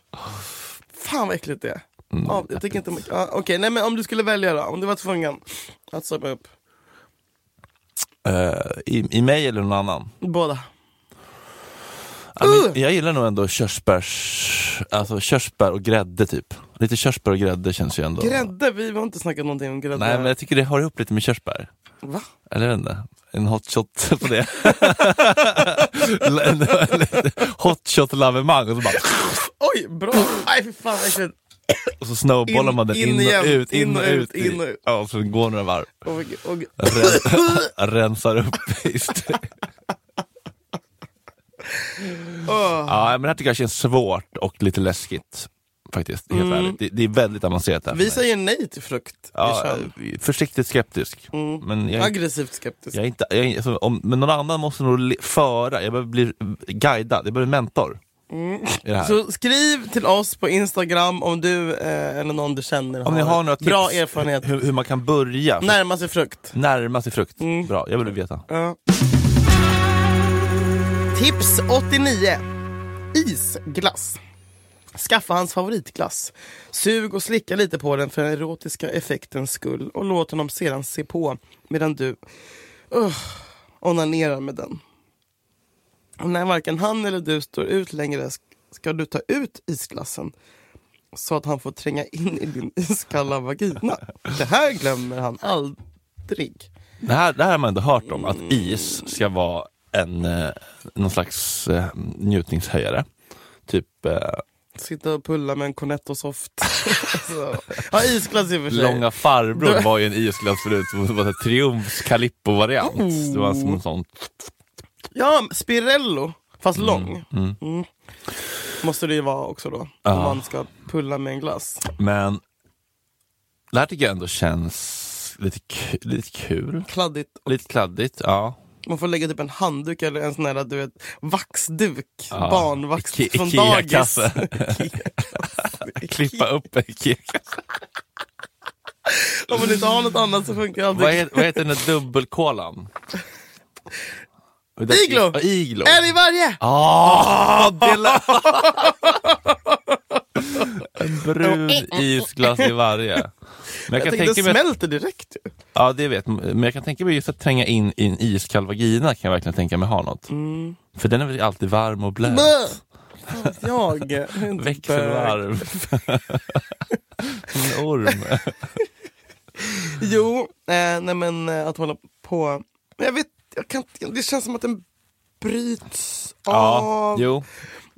Fan vad äckligt det är. Mm. Ja, jag tycker inte... om- Ja, Okej, nej men om du skulle välja då. Om du var tvungen att stoppa upp. Eh, i, I mig eller någon annan? Båda. Ja, men Uh! jag gillar nog ändå körsbärs, alltså körsbär och grädde typ. Lite körsbär och grädde känns ju ändå... Grädde? Vi har inte snackat någonting om grädde. Nej men jag tycker det hör ihop lite med körsbär. Va? Eller jag vet inte, en hot shot på det. En- en lite hot shot lavemang och så bara... Oj, bra! Nej fy fan vad äckligt. Och så snowbollar In- man den in in, och igen, ut, in och ut. i- in och ut. Ja, och så går några varv. Och, och, Ren- Rensar upp i st- åh. Ja, men det här tycker jag känns svårt och lite läskigt. Faktiskt, helt Mm. ärligt. Det, det är väldigt avancerat det här för Vi mig. säger nej till frukt. i ja, kön. Försiktigt skeptisk. Mm. Men jag, är- Aggressivt skeptisk. jag är inte, jag är, alltså, om, men någon annan måste nog le- föra, jag behöver bli guidad, jag behöver en mentor. I det här. Mm. Så skriv till oss på Instagram om du eh, eller någon du känner om ni har några tips bra erfarenhet. Hur, hur man kan börja, för- Närma sig frukt. närma sig frukt. Mm. Bra, jag vill veta. Ja. Tips 89. Isglass. Skaffa hans favoritglass. Sug och slicka lite på den för den erotiska effektens skull och låt honom sedan se på medan du Ugh, onanerar med den. Och när varken han eller du står ut längre sk- ska du ta ut isglassen så att han får tränga in i din iskalla vagina. Det här glömmer han aldrig. Det här, det här har man ändå hört om, att is ska vara en, eh, någon slags eh, njutningshöjare. Typ eh, Sitta och pulla med en Cornetto Soft. alltså, ja, isglass i och för sig. Långa farbror Du- var ju en isglass förut, som var en Triumfs Calippo-variant. Det var alltså som en sån... Ja, Spirello. Fast lång. Mm. Måste det ju vara också då. Om man ska pulla med en glass. Men det här tycker jag ändå känns lite, ku- lite kul. Kladdigt. Lite kladdigt, ja. Man får lägga typ en handduk eller en sån här du vet, vaxduk. Ja. Barnvax Ike- från dagis. Ikea-kasse. Klippa upp en kek. Om man inte har något annat så funkar alltid. Vad, he- vad heter den där dubbelkolan? Iglo! Ja, Iglo! En i varje! Ah, det lät... En brun isglass i varje. Men jag kan Jag tänkte, tänka det mig att smälter direkt ju. Ja, det vet Men jag kan tänka mig just att tränga in i en iskall vagina kan jag verkligen tänka mig ha något. Mm. För den är väl alltid varm och blöt. Bö! Fan vet Jag är inte bög. Växelvarm. Som en orm. Jo, eh, nej men eh, att hålla på. Men jag vet, jag kan, inte- det känns som att den bryts Ja, av. jo.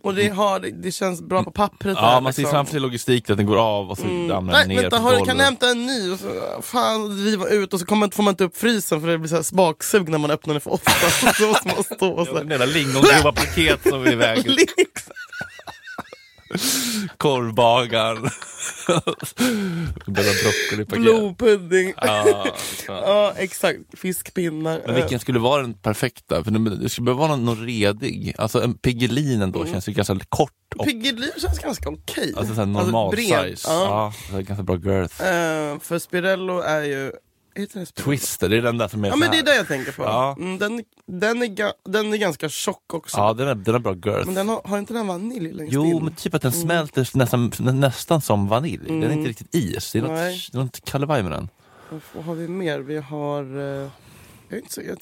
Och det, har, det känns bra på pappret. Ja, här, man ser liksom. Mm. framför sig logistik att den går av och så ramlar den Nej ner vänta, på hörru, golvet. kan du hämta en ny? Och så, fan, driva ut och så kommer, får man inte upp frysen för det blir så här spaksug när man öppnar den för ofta. så måste man stå och en så här. jävla lingongrova paket som är iväg. Liksom. Korvbagaren. Bella broccolipaket. Blodpudding. Ja, fan. Ja, exakt. Fiskpinnar. Eh, Men vilken skulle vara den perfekta? För det det skulle behöva vara någon, någon redig. Alltså en Piggelin ändå Mm. känns ju ganska kort och Piggelin känns ganska okej. alltså, såhär normal bred. size. Ja. Ja. så ganska bra girth. Eh, för Spirello är ju... Heter det Spirello? Twister, det är den där som är Ja så men det här. är det jag tänker på. Ja. Mm, den, den, är ga, den är ganska tjock också. Ja, den är, den är bra girth. Men den Mm. har, har inte den vanilj längst Jo, in? men typ att den smälter nästan, nä- nästan som vanilj. Den är inte riktigt is. Det är Mm. Nej. något, det är något kalvaj med den. Vad f- har vi mer? Vi har... eh, jag är inte så... Jag,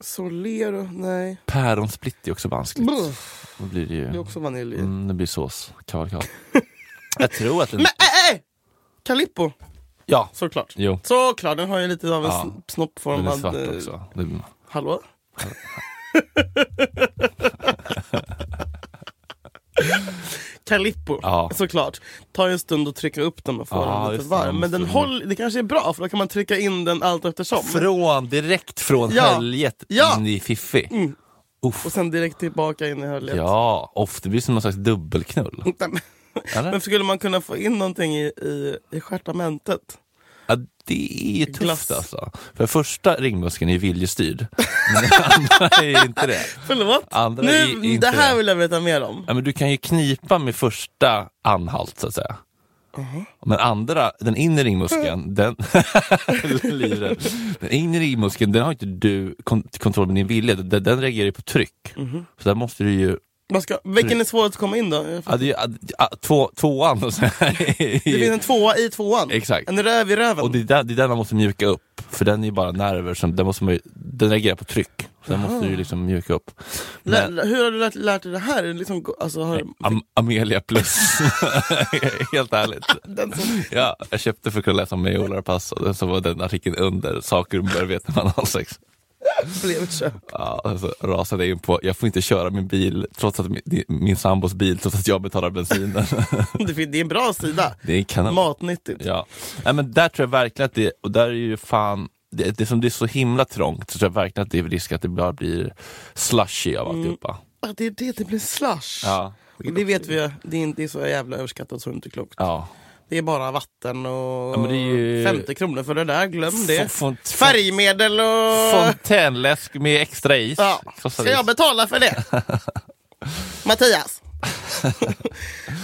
Solero? Nej. Päronsplitt är också vanskligt. Brr, Då blir det ju... Det är också vanilj i. Mm, det blir sås. Kavalkad. Jag tror att den... Men äh, äh! Calippo, Ja. såklart. Jo. Såklart, den har ju lite av en Ja. sn- Den är snoppformad... svart eh, också. Det- Hallå? Calippo, Ja. såklart. Ta en stund och trycka upp den och få Ja, den lite just det, Mm. varm. man Men den måste- håll, det kanske är bra för då kan man trycka in den allt eftersom. Från, direkt från Ja. höljet Ja. Mm. in i Fiffi. Uff. Och sen direkt tillbaka in i höljet. Ja, ofta blir det som någon slags dubbelknull. Nej, men- Eller? Mm. Men skulle man kunna få in någonting i, i, i stjärtamentet? Ja, det är ju tufft Glass. alltså. För första ringmuskeln är ju viljestyrd, men den andra är ju inte det. Förlåt? Andra är ju nu, inte det här det. vill jag veta mer om. Ja, men du kan ju knipa med första anhalt så att säga. Men andra, den inre ringmuskeln, den, Livrädd. den inre ringmuskeln, den har inte du kon- kontroll med din vilja. Den, den reagerar ju på tryck. Så där måste du ju Man ska, vilken är svårast att komma in då? Mm. Ja, det är, ju- ja, ja, två, tvåan och så här. Det finns en tvåa i tvåan. Exakt. En röv i röven. Och det är, där, det är där man måste mjuka upp, för den är ju bara nerver, som, den, måste man ju, den reagerar på tryck. Så den måste du ju liksom mjuka upp. Lä- Men, lä- hur har du lärt, lärt dig det här? Är det Liksom, go- alltså, har, Am Amelia plus, helt ärligt. den som, Ja, jag köpte för att kunna läsa om mig och Ola Rapace och den så var den artikeln under, saker man bör veta när man har sex. Blev ett köp. Ja, alltså, rasade jag in på, jag får inte köra min bil, trots att min, det är min sambos bil, trots att jag betalar bensinen. Det fin- det är en bra sida. det är kanon. Matnyttigt. Ja. Nej, men där tror jag verkligen att det, och där är ju fan, det, det som det är så himla trångt, så tror jag verkligen att det är risk att det bara blir slushy av alltihopa. Ah, det är det, det blir slush. Ja. Och det vet vi ju, det är, inte, det är så jävla överskattat så det är inte klokt. Ja. Det är bara vatten och Ja, men det är ju- 50 kronor för det där, glöm det. F- font- Färgmedel och... Fontänläsk med extra is. Ja. Krossad Ska jag is. betala för det? Mattias?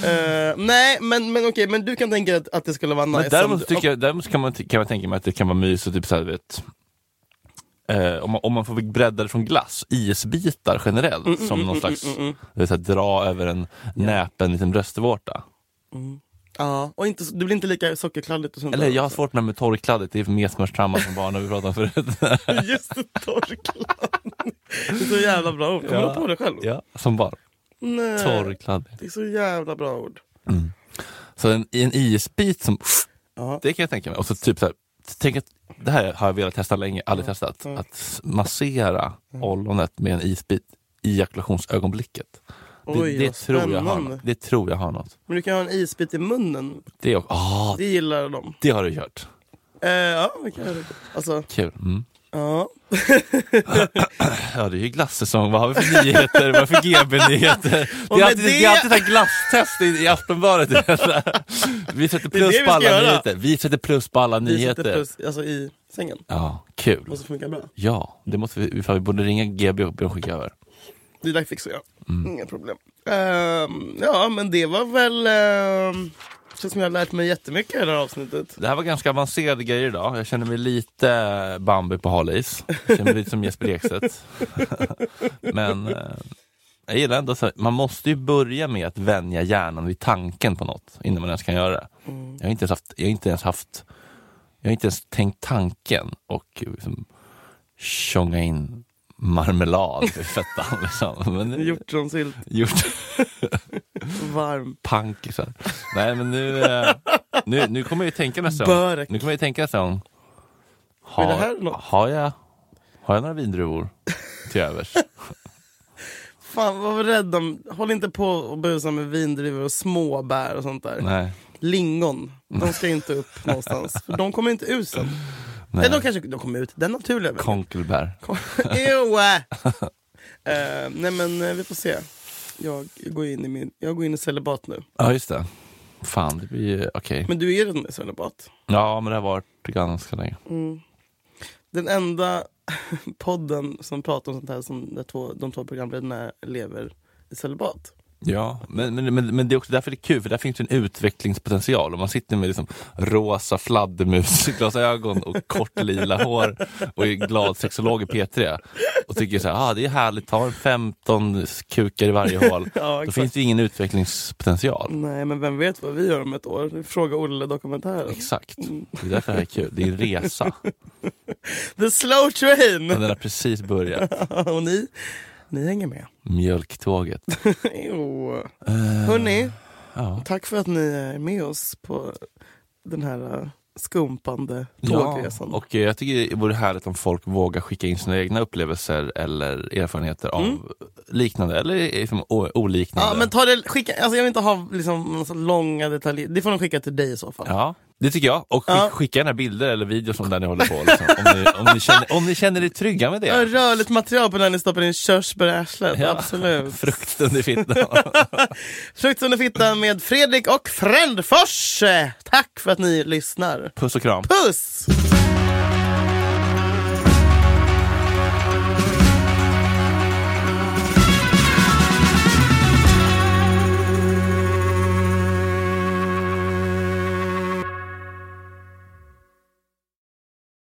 Eh, nej, men, men okej, men du kan tänka dig att, att det skulle vara nice. Men däremot, om- tycker jag, däremot kan, man, ty- kan man tänka mig att det kan vara mys och typ så här, du vet, eh, om, man, om man får bredda det från glass, isbitar generellt, som någon slags du vet, så här, dra över en näpen liten bröstvårta. Ja, och inte, så- det blir inte lika sockerkladdigt och sånt. Eller där. jag har svårt med, med torrkladdigt, det är mer smörstramma som barnen vi pratade om förut. Just det, torrkladd. Det är så jävla bra ord. Kommer du på det själv? ja, som barn. Nej, Torrkladdigt. det är så jävla bra ord. Så en, en isbit som, Ja. det kan jag tänka mig. Och så typ så här, tänk att det här har jag velat testa länge, aldrig testat. Att massera Mm. ollonet med en isbit i ejakulationsögonblicket. Oj, det, det, vad tror jag har, spännande. något. det tror jag har något. Men du kan ha en isbit i munnen. Det, är också, ah, Det gillar de. det har du gjort. Eh, ja, vi kan göra det. Alltså, Kul. Mm. ja. Ja, det är ju glassäsong. Vad har vi för nyheter? Vad har vi för GB-nyheter? Och Det är med alltid, det... det- är alltid ett glasstest i, i Aftonbladet. vi sätter är det plus vi på ska alla göra. nyheter. Vi sätter plus på alla Vi sätter nyheter. plus, alltså i sängen. Ja, kul. Måste funka bra. Ja, det måste vi, fan, vi borde ringa GB och be dem skicka över. Det där fixar jag. Mm. Inga problem. Ehm, ja, men det var väl... ehm, känns som jag har lärt mig jättemycket i det här avsnittet. Det här var ganska avancerade grejer idag. Jag känner mig lite Bambi på hal is. Jag känner mig lite som Jesper Ekstedt. Men eh, jag gillar ändå så här, man måste ju börja med att vänja hjärnan vid tanken på något innan man ens kan göra det. Jag har inte ens haft, jag har inte ens haft, jag har inte ens tänkt tanken och liksom tjonga in marmelad i fettan liksom. Men nu, Hjortronsylt, gjort varm. pankisar. liksom. Nej men nu, eh, nu, nu kommer jag ju tänka nästa gång. Börek. Nu kommer jag ju tänka nästa gång. Har, Är det här något? har, jag, har jag några vindruvor till övers? Fan, vad var rädd om. Håll inte på och busa med vindruvor och småbär och sånt där. Nej. Lingon, de ska inte upp någonstans. För de kommer inte ut sen. Nej, de kanske de kommer ut den naturliga vägen. Konkelbär. Ew! äh. Eh, nej men eh, vi får se. Jag går in i, min, jag går in i celibat nu. Ja just det. Fan, det blir ju- okej. Men du är redan i celibat. Ja men det har varit ganska länge. Den enda podden som pratar om sånt här som de två, de två programledarna lever i celibat. Ja, men, men, men, men det är också därför det är kul, för där finns det en utvecklingspotential. Om man sitter med liksom rosa fladdermusglasögon och kort lila hår och är glad sexolog i P3 och tycker så här, ah, det är härligt, ta en 15 kukar i varje hål. Ja, Då exakt. Mm. finns det ju ingen utvecklingspotential. Nej men vem vet vad vi gör om ett år? Fråga Olle-dokumentären. Exakt, det är därför det här är kul. Det är en resa, The slow train! men den har precis börjat. Och ni, ni hänger med. Mjölktåget. Jo. Hörni, Eh, ja. tack för att ni är med oss på den här eh, skumpande tågresan. och eh, jag tycker det vore härligt om folk vågar skicka in sina egna upplevelser eller erfarenheter av liknande eller liksom o- oliknande. Mm. Ja, men ta det, skicka, alltså jag vill inte ha liksom, en sån långa detaljer. Det får de skicka till dig i så fall. Ja, det tycker jag. Och skick, Ja. skicka gärna bilder eller videos om där ni håller på. Liksom. Om, ni, om, ni känner, om ni känner er trygga med Ja, det. Rörligt material på när ni stoppar in körsbär i arslet. Ja. Absolut. Frukt under fittan. Frukt under fittan med Fredrik och Frändfors. Tack för att ni lyssnar. Puss och kram. Puss!